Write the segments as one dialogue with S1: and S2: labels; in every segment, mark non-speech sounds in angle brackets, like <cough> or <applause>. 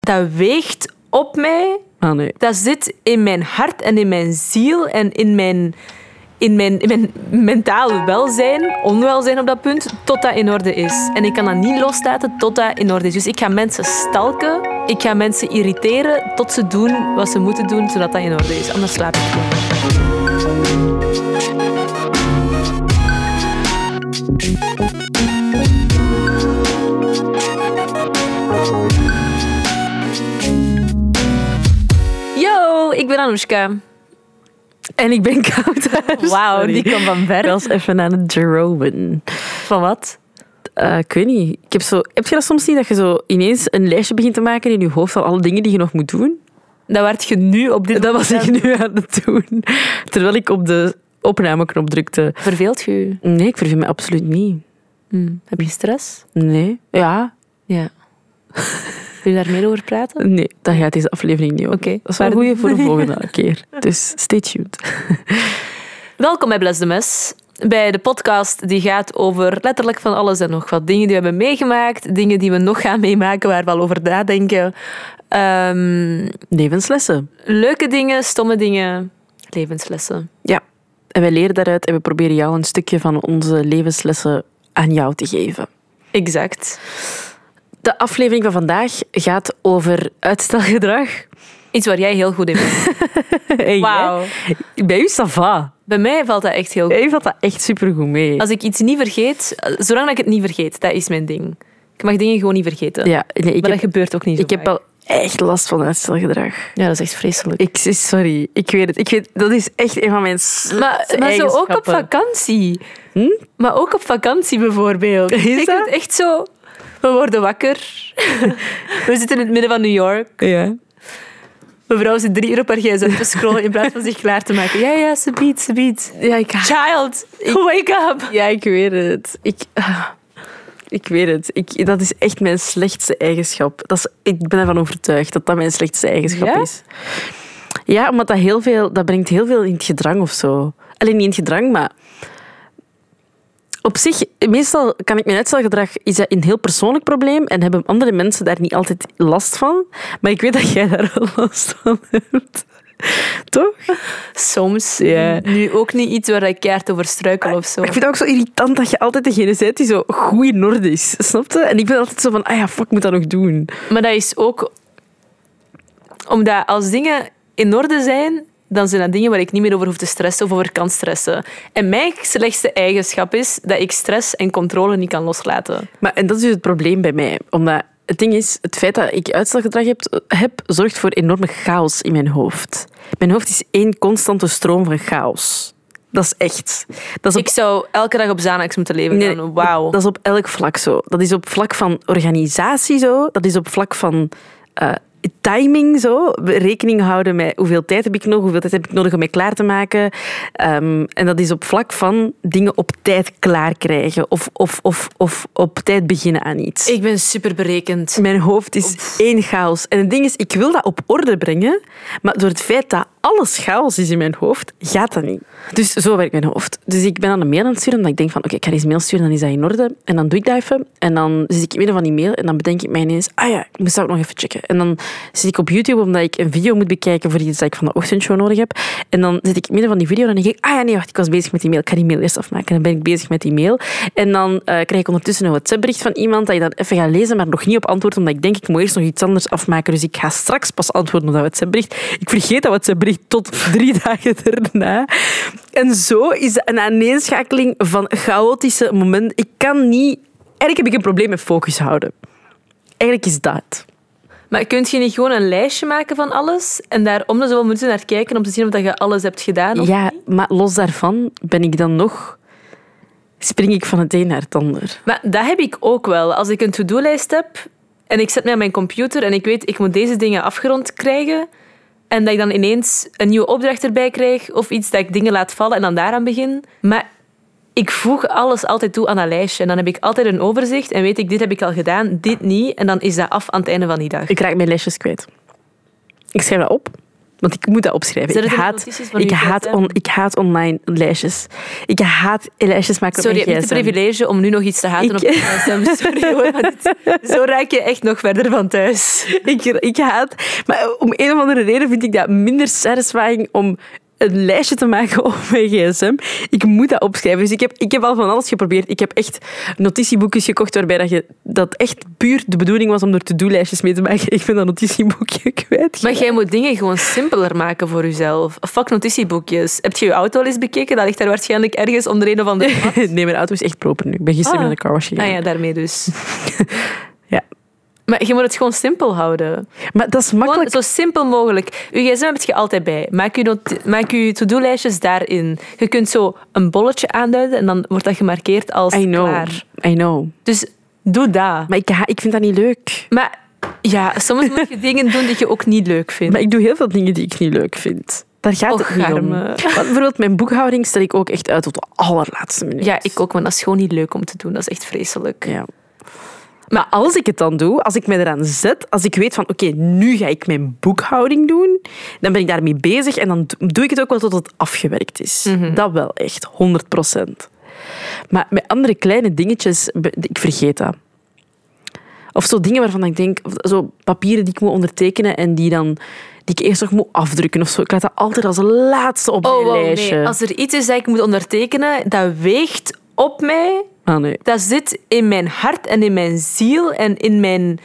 S1: dat weegt op mij.
S2: Ah, nee.
S1: Dat zit in mijn hart en in mijn ziel en in mijn, in mijn, in mijn mentaal welzijn, onwelzijn op dat punt, tot dat in orde is. En ik kan dat niet loslaten tot dat in orde is. Dus ik ga mensen stalken, ik ga mensen irriteren tot ze doen wat ze moeten doen, zodat dat in orde is. Anders slaap ik niet. Yo, ik ben Anoushka.
S2: En ik ben koud.
S1: <laughs> Wauw, die kwam van
S2: Ik
S1: ver.
S2: was even aan het dromen.
S1: Van wat?
S2: Eh, ik weet niet. Ik heb, zo, heb je dat soms niet, dat je zo ineens een lijstje begint te maken in je hoofd van alle dingen die je nog moet doen?
S1: Dat werd je nu op dit
S2: Dat was
S1: moment-
S2: ik nu aan het doen. Terwijl ik op de opnameknop drukte.
S1: Verveelt je? je?
S2: Nee, ik verveel me absoluut niet.
S1: Hmm. Heb je stress?
S2: Nee. Ja.
S1: Ja. Wil je daar meer over praten?
S2: Nee, dan gaat deze aflevering niet over.
S1: Oké,
S2: Dat is wel
S1: pardon.
S2: goed voor de volgende
S1: <laughs>
S2: keer. Dus stay tuned.
S1: Welkom bij Bless de Mes. Bij de podcast die gaat over letterlijk van alles en nog wat. Dingen die we hebben meegemaakt, dingen die we nog gaan meemaken, waar we al over nadenken. Ehm,
S2: Levenslessen.
S1: leuke dingen, stomme dingen, levenslessen.
S2: Ja. En wij leren daaruit en we proberen jou een stukje van onze levenslessen aan jou te geven.
S1: Exact.
S2: De aflevering van vandaag gaat over uitstelgedrag.
S1: Iets waar jij heel goed in <laughs> bent.
S2: <laughs> Hey, hè?
S1: Wauw.
S2: Bij u, Sava.
S1: Bij mij valt dat echt heel goed.
S2: Jij valt dat echt supergoed mee.
S1: Als ik iets niet vergeet, eh, zolang dat ik het niet vergeet, dat is mijn ding. Ik mag dingen gewoon niet vergeten.
S2: Ja, nee, ik,
S1: maar dat
S2: heb,
S1: gebeurt ook niet zo
S2: ik heb
S1: vaak.
S2: wel echt last van uitstelgedrag.
S1: Ja, dat is echt vreselijk.
S2: Ik, sorry, ik weet het. Ik weet, dat is echt een van mijn
S1: Maar, maar zo ook op vakantie. Maar ook op vakantie bijvoorbeeld.
S2: Is
S1: ik
S2: dat?
S1: vind het echt zo... We worden wakker. <laughs> we zitten in het midden van New York.
S2: Ja.
S1: Mevrouw zit drie uur op haar gsm te scrollen in plaats van zich klaar te maken. Ja, ja, ze biedt, ze biedt.
S2: Ja, ik
S1: Child, wake up.
S2: <laughs> Ja, ik weet het. Ik, <laughs> ah, ik weet het. Ik, dat is echt mijn slechtste eigenschap. Dat is, ik ben ervan overtuigd dat dat mijn slechtste eigenschap
S1: Ja?
S2: is. Ja, omdat dat, heel veel, dat brengt heel veel in het gedrang of zo. Alleen niet in het gedrang, maar... Op zich, meestal kan ik mijn uitstelgedrag... Is dat een heel persoonlijk probleem en hebben andere mensen daar niet altijd last van. Maar ik weet dat jij daar wel <laughs> last van hebt. Toch?
S1: Soms.
S2: Ja.
S1: Nu ook niet iets waar ik keihard over struikel of zo.
S2: Maar ik vind het ook zo irritant dat je altijd degene bent die zo goed in orde is. Snap je? En ik ben altijd zo van, ah ja, fuck, ik moet dat nog doen.
S1: Maar dat is ook omdat als dingen in orde zijn, dan zijn dat dingen waar ik niet meer over hoef te stressen of over kan stressen. En mijn slechtste eigenschap is dat ik stress en controle niet kan loslaten.
S2: Maar, en dat is dus het probleem bij mij. Omdat het ding is, het feit dat ik uitstelgedrag heb, heb, zorgt voor enorme chaos in mijn hoofd. Mijn hoofd is één constante stroom van chaos. Dat is echt. Dat is op
S1: Ik zou elke dag op Xanax moeten leven.
S2: Nee,
S1: dan. Wauw.
S2: Dat is op elk vlak zo. Dat is op vlak van organisatie zo. Dat is op vlak van eh, timing zo. Rekening houden met hoeveel tijd heb ik nog, hoeveel tijd heb ik nodig om mij klaar te maken. Ehm, en dat is op vlak van dingen op tijd klaar krijgen of, of, of, of op tijd beginnen aan iets.
S1: Ik ben super berekend.
S2: Mijn hoofd is één chaos. En het ding is, ik wil dat op orde brengen, maar door het feit dat alles chaos is in mijn hoofd, gaat dat niet. Dus zo werkt mijn hoofd. Dus ik ben aan een mail aan het sturen, omdat ik denk van, oké, ik ga eens mail sturen, dan is dat in orde. En dan doe ik dat even, en dan zit ik in het midden van die mail, en dan bedenk ik mij ineens, ah ja, ik moet dat ook nog even checken. En dan zit ik op YouTube, omdat ik een video moet bekijken voor iets dat ik van de ochtendshow nodig heb. En dan zit ik in het midden van die video, en dan denk ik, ah ja, nee, wacht, ik was bezig met die mail, ik ga die mail eerst afmaken. En dan ben ik bezig met die mail, en dan eh, krijg ik ondertussen een WhatsApp-bericht van iemand dat je dan even gaat lezen, maar nog niet op antwoord, omdat ik denk, ik moet eerst nog iets anders afmaken. Dus ik ga straks pas antwoorden op dat WhatsApp-bericht. Ik vergeet dat WhatsApp-bericht tot <laughs> drie dagen erna. En zo is dat een aaneenschakeling van chaotische momenten. Ik kan niet... Eigenlijk heb ik een probleem met focus houden. Eigenlijk is dat het.
S1: Maar kun je niet gewoon een lijstje maken van alles en daar om de zoveel minuten naar kijken om te zien of dat je alles hebt gedaan? Of...
S2: Ja, maar los daarvan ben ik dan nog... Spring ik van het een naar het ander.
S1: Maar dat heb ik ook wel. Als ik een to-do-lijst heb en ik zet mij aan mijn computer en ik weet, ik moet deze dingen afgerond krijgen en dat ik dan ineens een nieuwe opdracht erbij krijg of iets dat ik dingen laat vallen en dan daaraan begin. Maar ik voeg alles altijd toe aan dat lijstje en dan heb ik altijd een overzicht en weet ik, dit heb ik al gedaan, dit niet en dan is dat af aan het einde van die dag.
S2: Ik raak mijn lesjes kwijt. Ik schrijf dat op. Want ik moet dat opschrijven.
S1: Zijn
S2: ik
S1: het in de
S2: haat,
S1: notities van
S2: ik,
S1: uw
S2: haat
S1: gsm?
S2: on, ik haat online lijstjes. Ik haat lijstjes maken
S1: Sorry,
S2: op
S1: ik heb
S2: mijn
S1: niet het
S2: gsm.
S1: privilege om nu nog iets te haten
S2: Ik-
S1: op mijn gsm. Sorry hoor, maar dit-
S2: <laughs>
S1: zo raak je echt nog verder van thuis.
S2: Ik, ik haat... Maar om een of andere reden vind ik dat minder satisfying om een lijstje te maken <laughs> op mijn gsm. Ik moet dat opschrijven. Dus ik heb, ik heb al van alles geprobeerd. Ik heb echt notitieboekjes gekocht waarbij dat, je, dat echt puur de bedoeling was om er to-do-lijstjes mee te maken. <laughs> Ik ben dat notitieboekje kwijt.
S1: Maar jij moet dingen gewoon simpeler maken voor jezelf. Fuck notitieboekjes. Heb je je auto al eens bekeken? Dat ligt daar waarschijnlijk ergens onder een of andere...
S2: <laughs> Nee, mijn auto is echt proper nu. Ik ben gisteren
S1: Ah.
S2: naar de car wash gegaan.
S1: Ah ja, daarmee dus.
S2: <laughs> Ja.
S1: Maar je moet het gewoon simpel houden.
S2: Maar dat is
S1: Gewoon
S2: makkelijk.
S1: zo simpel mogelijk. Je gsm heb je altijd bij. Maak je, not- maak je to-do-lijstjes daarin. Je kunt zo een bolletje aanduiden en dan wordt dat gemarkeerd als
S2: I know.
S1: klaar.
S2: I know.
S1: Dus doe dat.
S2: Maar ik, ha- ik vind dat niet leuk.
S1: Maar ja, soms moet
S2: <laughs>
S1: je dingen doen die je ook niet leuk vindt.
S2: Maar ik doe heel veel dingen die ik niet leuk vind. Daar gaat
S1: Och,
S2: het niet om.
S1: Garme.
S2: Want bijvoorbeeld mijn boekhouding stel ik ook echt uit tot de allerlaatste minuut.
S1: Ja, ik ook, want dat is gewoon niet leuk om te doen. Dat is echt vreselijk.
S2: Ja. Maar als ik het dan doe, als ik me eraan zet, als ik weet van oké, nu ga ik mijn boekhouding doen, dan ben ik daarmee bezig en dan do- doe ik het ook wel tot het afgewerkt is.
S1: Mhm.
S2: Dat wel echt, 100 Maar met andere kleine dingetjes, be- ik vergeet dat. Of zo dingen waarvan ik denk, of zo papieren die ik moet ondertekenen en die, dan, die ik eerst nog moet afdrukken of zo. Ik laat dat altijd als laatste op
S1: Oh,
S2: mijn
S1: wow,
S2: lijstje.
S1: nee. Als er iets is dat ik moet ondertekenen, dat weegt op mij.
S2: Ah, nee.
S1: Dat zit in mijn hart en in mijn ziel en in mijn,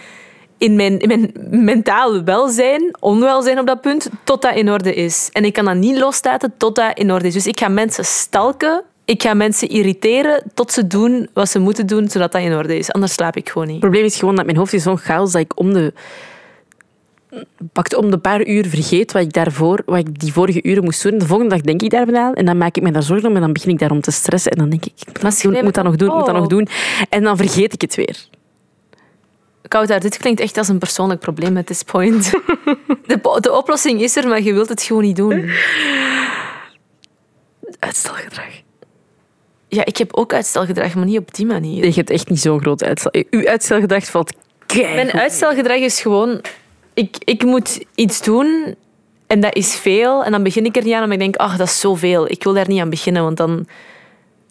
S1: in mijn, in mijn mentaal welzijn, onwelzijn op dat punt, tot dat in orde is. En ik kan dat niet loslaten tot dat in orde is. Dus ik ga mensen stalken, ik ga mensen irriteren tot ze doen wat ze moeten doen, zodat dat in orde is. Anders slaap ik gewoon niet.
S2: Het probleem is gewoon dat mijn hoofd is zo'n chaos dat ik om de pakt om de paar uur vergeet wat ik daarvoor, wat ik die vorige uren moest doen. De volgende dag denk ik daar aan en dan maak ik me daar zorgen om en dan begin ik daarom te stressen en dan denk ik, ik moet dat,
S1: schrijf
S2: doen, ik
S1: het
S2: moet dat nog doen, ik moet dat
S1: op.
S2: nog doen. En dan vergeet ik het weer.
S1: Koudaar, dit klinkt echt als een persoonlijk probleem at this
S2: <laughs>
S1: point. De, po- de oplossing is er, maar je wilt het gewoon niet doen.
S2: Uitstelgedrag.
S1: Ja, ik heb ook uitstelgedrag, maar niet op die manier.
S2: Nee, je hebt echt niet zo'n groot uitstel. eh, Uw uitstelgedrag valt
S1: Mijn
S2: kei.
S1: uitstelgedrag is gewoon... Ik, ik moet iets doen en dat is veel. En dan begin ik er niet aan, omdat ik denk, ach, dat is zoveel. Ik wil daar niet aan beginnen, want dan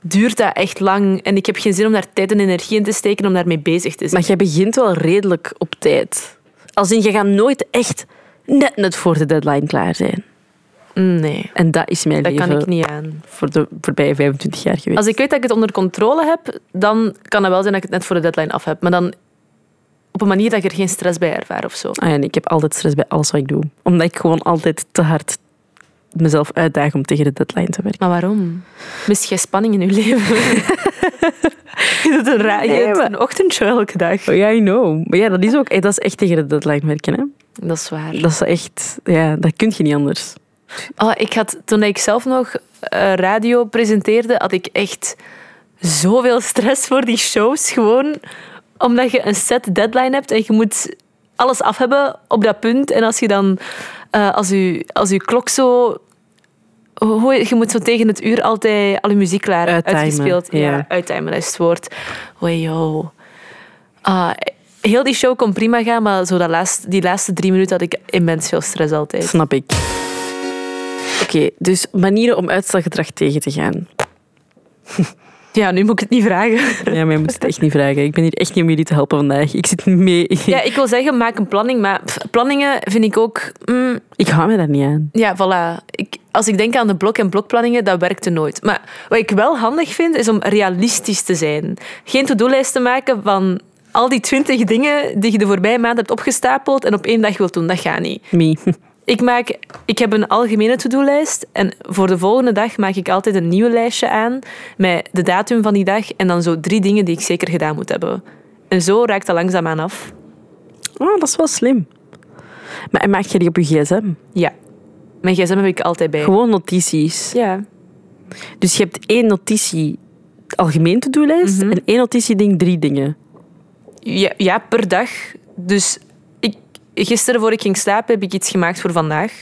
S1: duurt dat echt lang. En ik heb geen zin om daar tijd en energie in te steken om daarmee bezig te zijn.
S2: Maar jij begint wel redelijk op tijd. Als in, je gaat nooit echt net net voor de deadline klaar zijn.
S1: Mm, Nee,
S2: En dat is mijn
S1: dat
S2: leven
S1: kan ik niet aan.
S2: voor de voorbije 25 jaar geweest.
S1: Als ik weet dat ik het onder controle heb, dan kan het wel zijn dat ik het net voor de deadline af heb. Maar dan op een manier dat ik er geen stress bij ervaar of zo.
S2: Ah ja, en ik heb altijd stress bij alles wat ik doe. Omdat ik gewoon altijd te hard mezelf uitdaag om tegen de deadline te werken.
S1: Maar waarom? Mist jij spanning in je <laughs> leven? je doet een, ra- je
S2: Nee,
S1: doet
S2: maar-
S1: een ochtendshow elke dag.
S2: Oh, ja, I know. Maar ja, dat is ook eh, dat is echt tegen de deadline werken. Hè?
S1: Dat is waar.
S2: Dat is echt... Ja, dat kun je niet anders.
S1: Oh, ik had, toen ik zelf nog eh, radio presenteerde, had ik echt zoveel stress voor die shows. Gewoon omdat je een set deadline hebt en je moet alles af hebben op dat punt. En als je dan, eh, als, je, als je klok zo. Hoe, je moet zo tegen het uur altijd al je muziek klaar
S2: Uittimen,
S1: uitgespeeld. Ja,
S2: ja.
S1: uittimen, dat is het woord. Oei, joh. Ah, heel die show kon prima gaan, maar zo dat laatste, die laatste drie minuten had ik immens veel stress altijd.
S2: Snap ik. Oké, dus manieren om uitstelgedrag tegen te gaan.
S1: Ja, nu moet ik het niet vragen.
S2: Ja, maar je moet het echt niet vragen. Ik ben hier echt niet om jullie te helpen vandaag. Ik zit mee...
S1: Ja, ik wil zeggen, maak een planning. Maar pff, planningen vind ik ook... mm,
S2: Ik hou me daar niet aan.
S1: ja, voilà. Ik, als ik denk aan de blok- en blokplanningen, dat werkte nooit. Maar wat ik wel handig vind, is om realistisch te zijn. Geen to-do-lijst te maken van al die twintig dingen die je de voorbije maand hebt opgestapeld en op één dag wilt doen. Dat gaat niet.
S2: Me.
S1: Ik, maak, ik heb een algemene to-do-lijst en voor de volgende dag maak ik altijd een nieuw lijstje aan met de datum van die dag en dan zo drie dingen die ik zeker gedaan moet hebben. En zo raakt dat langzaamaan af.
S2: Oh, dat is wel slim. Maar en maak je die op je gsm?
S1: Ja. Mijn gsm heb ik altijd bij.
S2: Gewoon notities.
S1: Ja.
S2: Dus je hebt één notitie algemeen to-do-lijst
S1: Mhm.
S2: en één notitie ding drie dingen.
S1: ja. Ja, per dag. Dus ik, gisteren voor ik ging slapen heb ik iets gemaakt voor vandaag.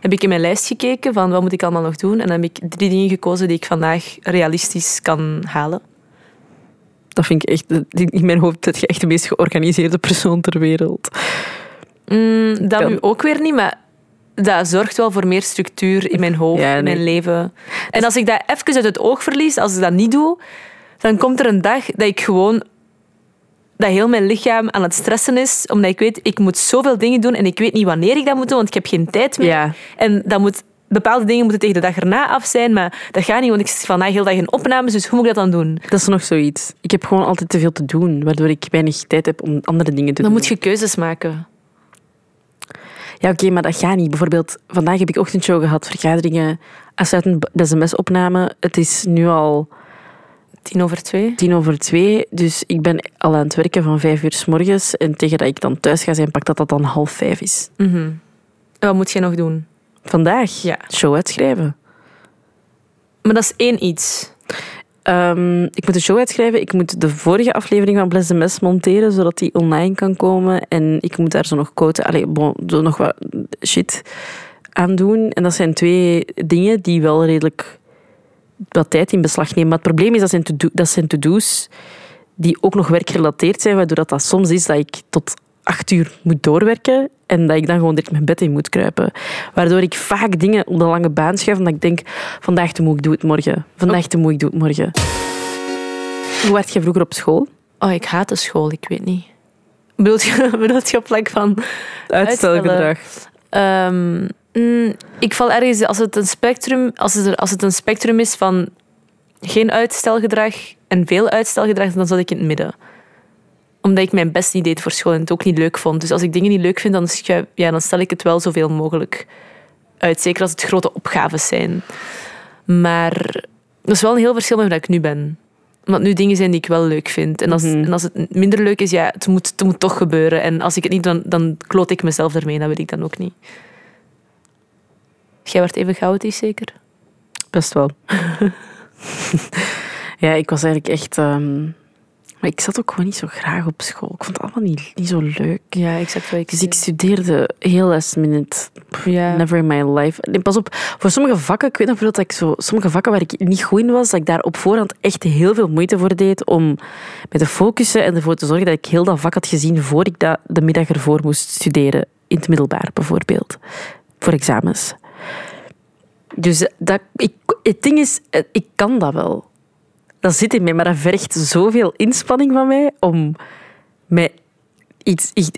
S1: Heb ik in mijn lijst gekeken van wat moet ik allemaal nog doen. En dan heb ik drie dingen gekozen die ik vandaag realistisch kan halen.
S2: Dat vind ik echt... In mijn hoofd dat je echt de meest georganiseerde persoon ter wereld.
S1: Mm, dat
S2: Ja.
S1: nu ook weer niet, maar dat zorgt wel voor meer structuur in mijn hoofd,
S2: Ja,
S1: in
S2: nee.
S1: mijn leven. En als ik dat even uit het oog verlies, als ik dat niet doe, dan komt er een dag dat ik gewoon... Dat heel mijn lichaam aan het stressen is, omdat ik weet, ik moet zoveel dingen doen en ik weet niet wanneer ik dat moet doen, want ik heb geen tijd meer.
S2: Ja.
S1: En dat moet, bepaalde dingen moeten tegen de dag erna af zijn, maar dat gaat niet, want ik zit vandaag heel dag in opnames, dus hoe moet ik dat dan doen?
S2: Dat is nog zoiets. Ik heb gewoon altijd te veel te doen, waardoor ik weinig tijd heb om andere dingen te
S1: Dan
S2: doen.
S1: moet je keuzes maken.
S2: Ja, oké, maar dat gaat niet. Bijvoorbeeld, vandaag heb ik ochtendshow gehad, vergaderingen, afsluitend b- sms-opname. Het is nu al
S1: Tien over twee.
S2: tien over twee, dus ik ben al aan het werken van vijf uur s morgens. En tegen dat ik dan thuis ga zijn, pak dat dat dan half vijf is.
S1: Mhm. En wat moet jij nog doen?
S2: Vandaag,
S1: Ja.
S2: show uitschrijven.
S1: Maar dat is één iets.
S2: Ehm, ik moet de show uitschrijven. Ik moet de vorige aflevering van Bless the Mess monteren, zodat die online kan komen. En ik moet daar zo nog quoten, allee, bon, zo nog wat shit aan doen. En dat zijn twee dingen die wel redelijk wat tijd in beslag nemen. Maar het probleem is, dat zijn to-do- dat zijn to-do's die ook nog werkgerelateerd zijn, waardoor dat, dat soms is dat ik tot acht uur moet doorwerken en dat ik dan gewoon direct mijn bed in moet kruipen. Waardoor ik vaak dingen op de lange baan schuif en dat ik denk, vandaag te moe, ik doe het morgen. Vandaag te moe, ik doe het morgen. Hoe werd je vroeger op school?
S1: Oh, ik haat de school, ik weet niet. Bedoelt je, <laughs> bedoelt je op plek van...
S2: Uitstelgedrag.
S1: ehm, mm, ik val ergens, als het, een spectrum, als, het, er- als het een spectrum is van geen uitstelgedrag en veel uitstelgedrag, dan zat ik in het midden. Omdat ik mijn best niet deed voor school en het ook niet leuk vond. Dus als ik dingen niet leuk vind, dan, schuif, ja, dan stel ik het wel zoveel mogelijk uit. Zeker als het grote opgaves zijn. Maar dat is wel een heel verschil met wat ik nu ben. Omdat nu dingen zijn die ik wel leuk vind. En als, en als het minder leuk is, ja, het moet, het moet toch gebeuren. En als ik het niet doe, dan, dan kloot ik mezelf ermee. Dat wil ik dan ook niet. Jij werd even chaotisch, zeker?
S2: Best wel. <laughs> ja, ik was eigenlijk echt... ehm, maar ik zat ook gewoon niet zo graag op school. Ik vond het allemaal niet, niet zo leuk.
S1: Ja, exact wat ik
S2: Dus ik studeerde heel last minute. Pff,
S1: Ja.
S2: Never in my life. En pas op, voor sommige vakken, ik weet nog bijvoorbeeld dat ik zo, sommige vakken waar ik niet goed in was, dat ik daar op voorhand echt heel veel moeite voor deed om met te focussen en ervoor te zorgen dat ik heel dat vak had gezien voor ik dat de middag ervoor moest studeren. In het middelbaar bijvoorbeeld. Voor examens. Dus dat, ik, het ding is, eh, ik kan dat wel. Dat zit in mij, maar dat vergt zoveel inspanning van mij om mij iets, iets,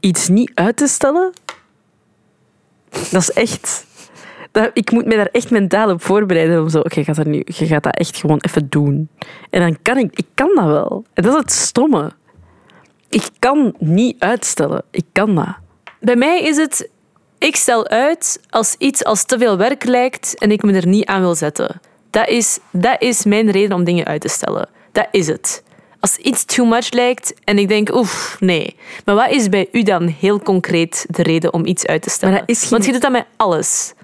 S2: iets niet uit te stellen. Dat is echt... Dat, ik moet me daar echt mentaal op voorbereiden. Om zo, oké, gaat dat nu- je gaat dat echt gewoon even doen. En dan kan ik... Ik kan dat wel. En dat is het stomme. Ik kan niet uitstellen. Ik kan dat.
S1: Bij mij is het... Ik stel uit als iets als te veel werk lijkt en ik me er niet aan wil zetten. Dat is, dat is mijn reden om dingen uit te stellen. Dat is het. Als iets too much lijkt en ik denk, oef, nee. Maar wat is bij u dan heel concreet de reden om iets uit te stellen?
S2: Maar dat is geen-
S1: Want je doet dat met alles.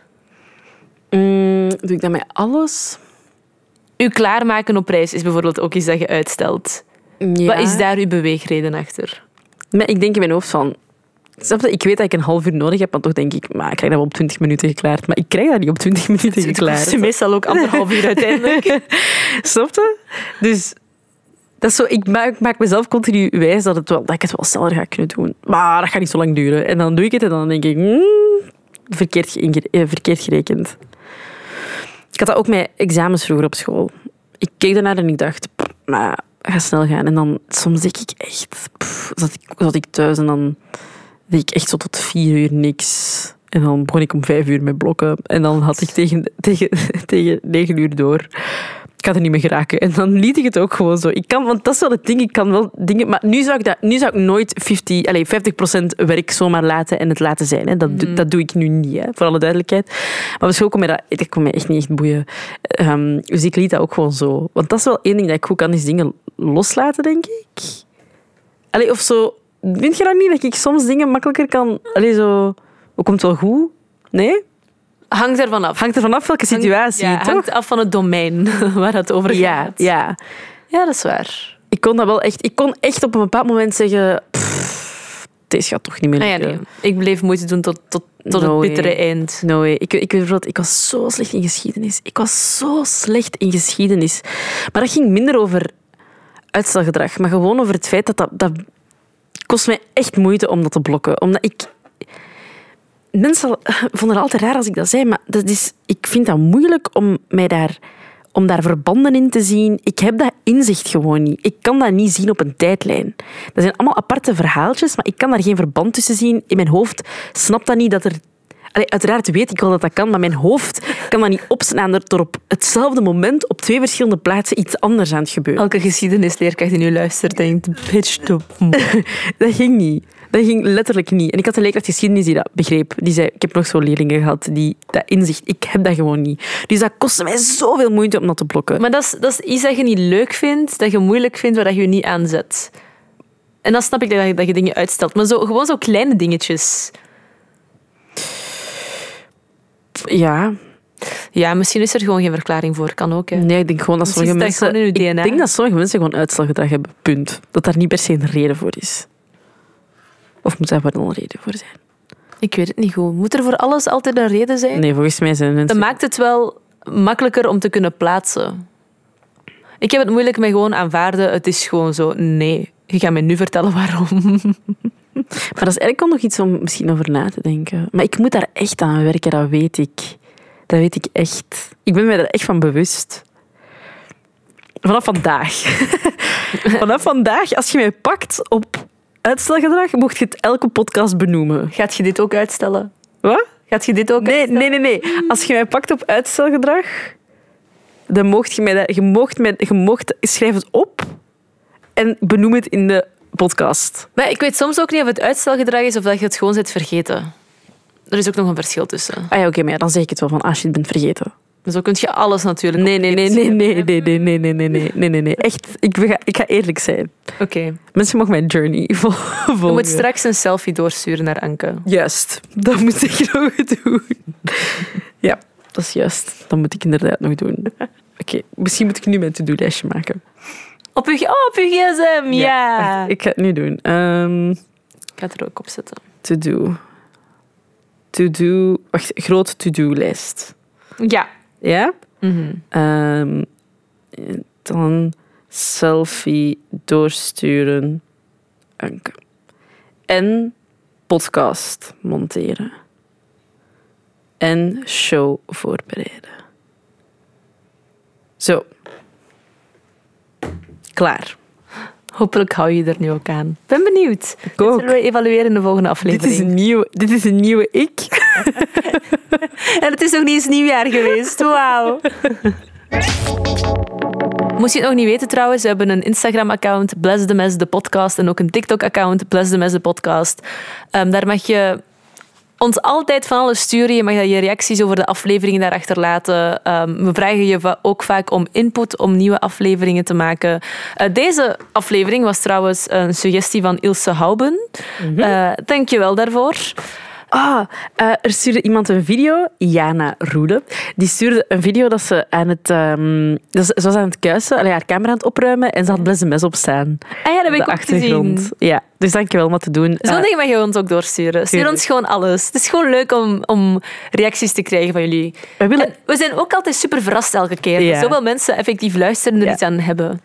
S2: Mm, doe ik dat met alles?
S1: U klaarmaken op reis is bijvoorbeeld ook iets dat je uitstelt.
S2: Ja.
S1: Wat is daar uw beweegreden achter?
S2: Maar ik denk in mijn hoofd van... Snap je? Ik weet dat ik een half uur nodig heb, maar toch denk ik... Maar ik krijg dat wel op 20 minuten geklaard. Maar ik krijg dat niet op 20 minuten
S1: Het kost
S2: geklaard.
S1: je meestal ook anderhalf uur
S2: <laughs>
S1: uiteindelijk.
S2: Snap je? Dus dat is zo, ik, maak, ik maak mezelf continu wijs dat, het wel, dat ik het wel sneller ga kunnen doen. Maar dat gaat niet zo lang duren. En dan doe ik het en dan denk ik... hmm, verkeerd, geïnge- eh, verkeerd gerekend. Ik had dat ook met examens vroeger op school. Ik keek ernaar en ik dacht... "Pff, Maar ga snel gaan. En dan soms denk ik echt... pff, zat, ik, zat ik thuis en dan deed ik echt zo tot vier uur niks. En dan begon ik om vijf uur met blokken. En dan had ik tegen, tegen, <laughs> tegen negen uur door. Ik had er niet meer geraken. En dan liet ik het ook gewoon zo. Ik kan, want dat is wel het ding. Ik kan wel dingen... Maar nu zou ik, dat, nu zou ik nooit 50, allez, 50% werk zomaar laten en het laten zijn. Hè. Dat, doe- dat doe ik nu niet, hè, voor alle duidelijkheid. Maar misschien kon mij dat, dat kon mij echt niet echt boeien. Ehm, dus ik liet dat ook gewoon zo. Want dat is wel één ding dat ik goed kan, is dingen loslaten, denk ik. Allee, of zo. Vind je dat niet dat ik soms dingen makkelijker kan. Allee, zo. Hoe komt wel goed? Nee?
S1: Hangt ervan af.
S2: Hangt er vanaf welke
S1: Hangt-
S2: situatie,
S1: ja,
S2: toch?
S1: hangt af van het domein <laughs> waar het over gaat.
S2: Ja, ja.
S1: Ja, dat is waar.
S2: Ik kon dat wel echt. Ik kon echt op een bepaald moment zeggen. "Pff, Deze gaat toch niet meer
S1: Ah, ja,
S2: lukken.
S1: nee. Ik bleef moeite doen tot, tot, tot
S2: No
S1: het
S2: way.
S1: bittere eind.
S2: No way. Ik, ik, weet bijvoorbeeld, ik was zo slecht in geschiedenis. Ik was zo slecht in geschiedenis. Maar dat ging minder over uitstelgedrag, maar gewoon over het feit dat dat... dat kost mij echt moeite om dat te blokken. Omdat ik... mensen vonden het altijd raar als ik dat zei, maar dat is, ik vind dat moeilijk om, mij daar, om daar verbanden in te zien. Ik heb dat inzicht gewoon niet. Ik kan dat niet zien op een tijdlijn. Dat zijn allemaal aparte verhaaltjes, maar ik kan daar geen verband tussen zien. In mijn hoofd snapt dat niet dat er... Allee, uiteraard weet ik wel dat dat kan, maar mijn hoofd kan dat niet opslaan dat er op hetzelfde moment op twee verschillende plaatsen iets anders aan het gebeuren.
S1: Elke geschiedenisleerkracht die nu luistert denkt, bitch, de
S2: Dat ging niet. Dat ging letterlijk niet. En ik had een leerkracht geschiedenis die dat begreep. Die zei, ik heb nog zo'n leerlingen gehad die dat inzicht... Ik heb dat gewoon niet. Dus dat kostte mij zoveel moeite om dat te
S1: <laughs>
S2: blokken.
S1: Maar dat is, dat is iets dat je niet leuk vindt, dat je moeilijk vindt, waar dat je je niet aan zet. En dan snap ik dat je, dat je dingen uitstelt. Maar zo, gewoon zo kleine dingetjes.
S2: Ja.
S1: Ja, misschien is er gewoon geen verklaring voor. Kan ook, hè.
S2: Nee, ik denk gewoon dat
S1: Misschien
S2: sommige
S1: zit dat
S2: mensen...
S1: gewoon in uw DNA.
S2: Ik denk dat sommige mensen gewoon uitstelgedrag hebben. Punt. Dat daar niet per se een reden voor is. Of moet daar wel een reden voor zijn?
S1: Ik weet het niet goed. Moet er voor alles altijd een reden zijn?
S2: Nee, volgens mij zijn
S1: Dat
S2: mensen...
S1: maakt het wel makkelijker om te kunnen plaatsen. Ik heb het moeilijk met gewoon aanvaarden. Het is gewoon zo, nee. Je gaat me nu vertellen waarom.
S2: Maar dat is eigenlijk wel nog iets om misschien over na te denken. Maar ik moet daar echt aan werken, dat weet ik. Dat weet ik echt. Ik ben mij er echt van bewust. Vanaf vandaag. <laughs> Vanaf vandaag, als je mij pakt op uitstelgedrag, mocht je het elke podcast benoemen.
S1: Gaat je dit ook uitstellen?
S2: Wat?
S1: Gaat je dit ook
S2: Nee, nee, nee, nee. Als je mij pakt op uitstelgedrag, dan mocht je mij daar... Je mocht, mij, je mocht schrijf het op en benoem het in de podcast.
S1: Maar ik weet soms ook niet of het uitstelgedrag is of dat je het gewoon zit vergeten. Er is ook nog een verschil tussen.
S2: Ah ja, oké, maar ja, dan zeg ik het wel van als je het bent vergeten.
S1: Zo kun je alles natuurlijk
S2: Nee, nee, nee,
S1: opnieuw
S2: nee,
S1: zien.
S2: nee, nee, nee, nee, nee, nee, nee, nee, nee, nee. Echt, ik ga, ik ga eerlijk zijn.
S1: Oké.
S2: Mensen mogen mijn journey <laughs> vol- volgen.
S1: Je moet straks een selfie doorsturen naar Anke.
S2: Juist, dat moet ik <laughs> nog doen. Ja, dat is juist. Dat moet ik inderdaad nog doen. Oké, misschien moet ik nu mijn to-do-lijstje maken.
S1: Op je, oh, op je gsm, ja.
S2: wacht, ik ga het nu doen. Ehm,
S1: Ik ga het er ook op zetten.
S2: to-do. To-do. Wacht, groot to-do-lijst.
S1: Ja.
S2: Ja?
S1: Mhm.
S2: Ehm, dan selfie doorsturen. Anke. En podcast monteren. En show voorbereiden. Zo. Klaar.
S1: Hopelijk hou je er nu ook aan. Ik ben benieuwd.
S2: Ik
S1: Dit
S2: ook.
S1: zullen we evalueren in de volgende
S2: Dit
S1: aflevering.
S2: is, een nieuwe, dit is een nieuwe ik.
S1: En het is nog niet eens nieuwjaar geweest. Wauw. Moest je het nog niet weten trouwens, we hebben een Instagram-account, Bless the Mess, de podcast, en ook een TikTok-account, Bless the Mess, de podcast. Ehm, daar mag je ons altijd van alles sturen. Je mag daar je reacties over de afleveringen daar achterlaten. Ehm, we vragen je va- ook vaak om input om nieuwe afleveringen te maken. Eh, deze aflevering was trouwens een suggestie van Ilse Houben.
S2: Mhm.
S1: Eh, Dank je wel daarvoor.
S2: Ah, eh, er stuurde iemand een video, Jana Roele. Die stuurde een video dat ze aan het, ehm, dat ze, ze was aan het kuisen, allee, haar camera aan het opruimen en ze had blesse mes op staan.
S1: Ah ja, dat
S2: Op
S1: heb
S2: de
S1: ik ook gezien.
S2: achtergrond. Ja, dus dankjewel om dat te doen.
S1: Zo'n
S2: Eh,
S1: ding mag je ons ook doorsturen. Stuur
S2: tuurlijk.
S1: ons gewoon alles. Het is gewoon leuk om, om reacties te krijgen van jullie.
S2: we willen,
S1: En we zijn ook altijd super verrast elke keer.
S2: Ja.
S1: Zoveel mensen effectief luisteren en er
S2: Ja.
S1: iets aan hebben.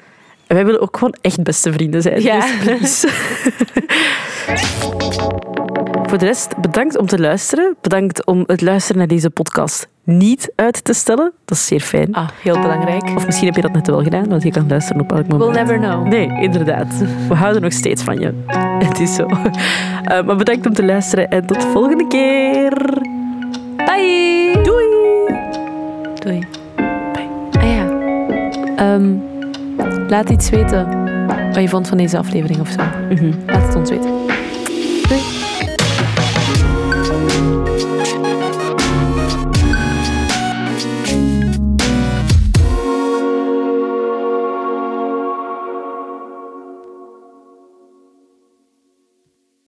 S2: wij willen ook gewoon echt beste vrienden zijn.
S1: Ja.
S2: Dus please. <laughs> Voor de rest, bedankt om te luisteren. Bedankt om het luisteren naar deze podcast niet uit te stellen. Dat is zeer fijn.
S1: Ah, heel belangrijk.
S2: Of misschien heb je dat net wel gedaan, want je kan luisteren op elk moment.
S1: We'll never know.
S2: Nee, inderdaad. We houden nog steeds van je. Het is zo. Eh, maar bedankt om te luisteren en tot de volgende keer.
S1: Bye!
S2: Doei!
S1: Doei. Bye. Ah ja. Ehm,
S2: Mhm.
S1: laat iets weten wat je vond van deze aflevering of zo. Laat het ons weten. Doei.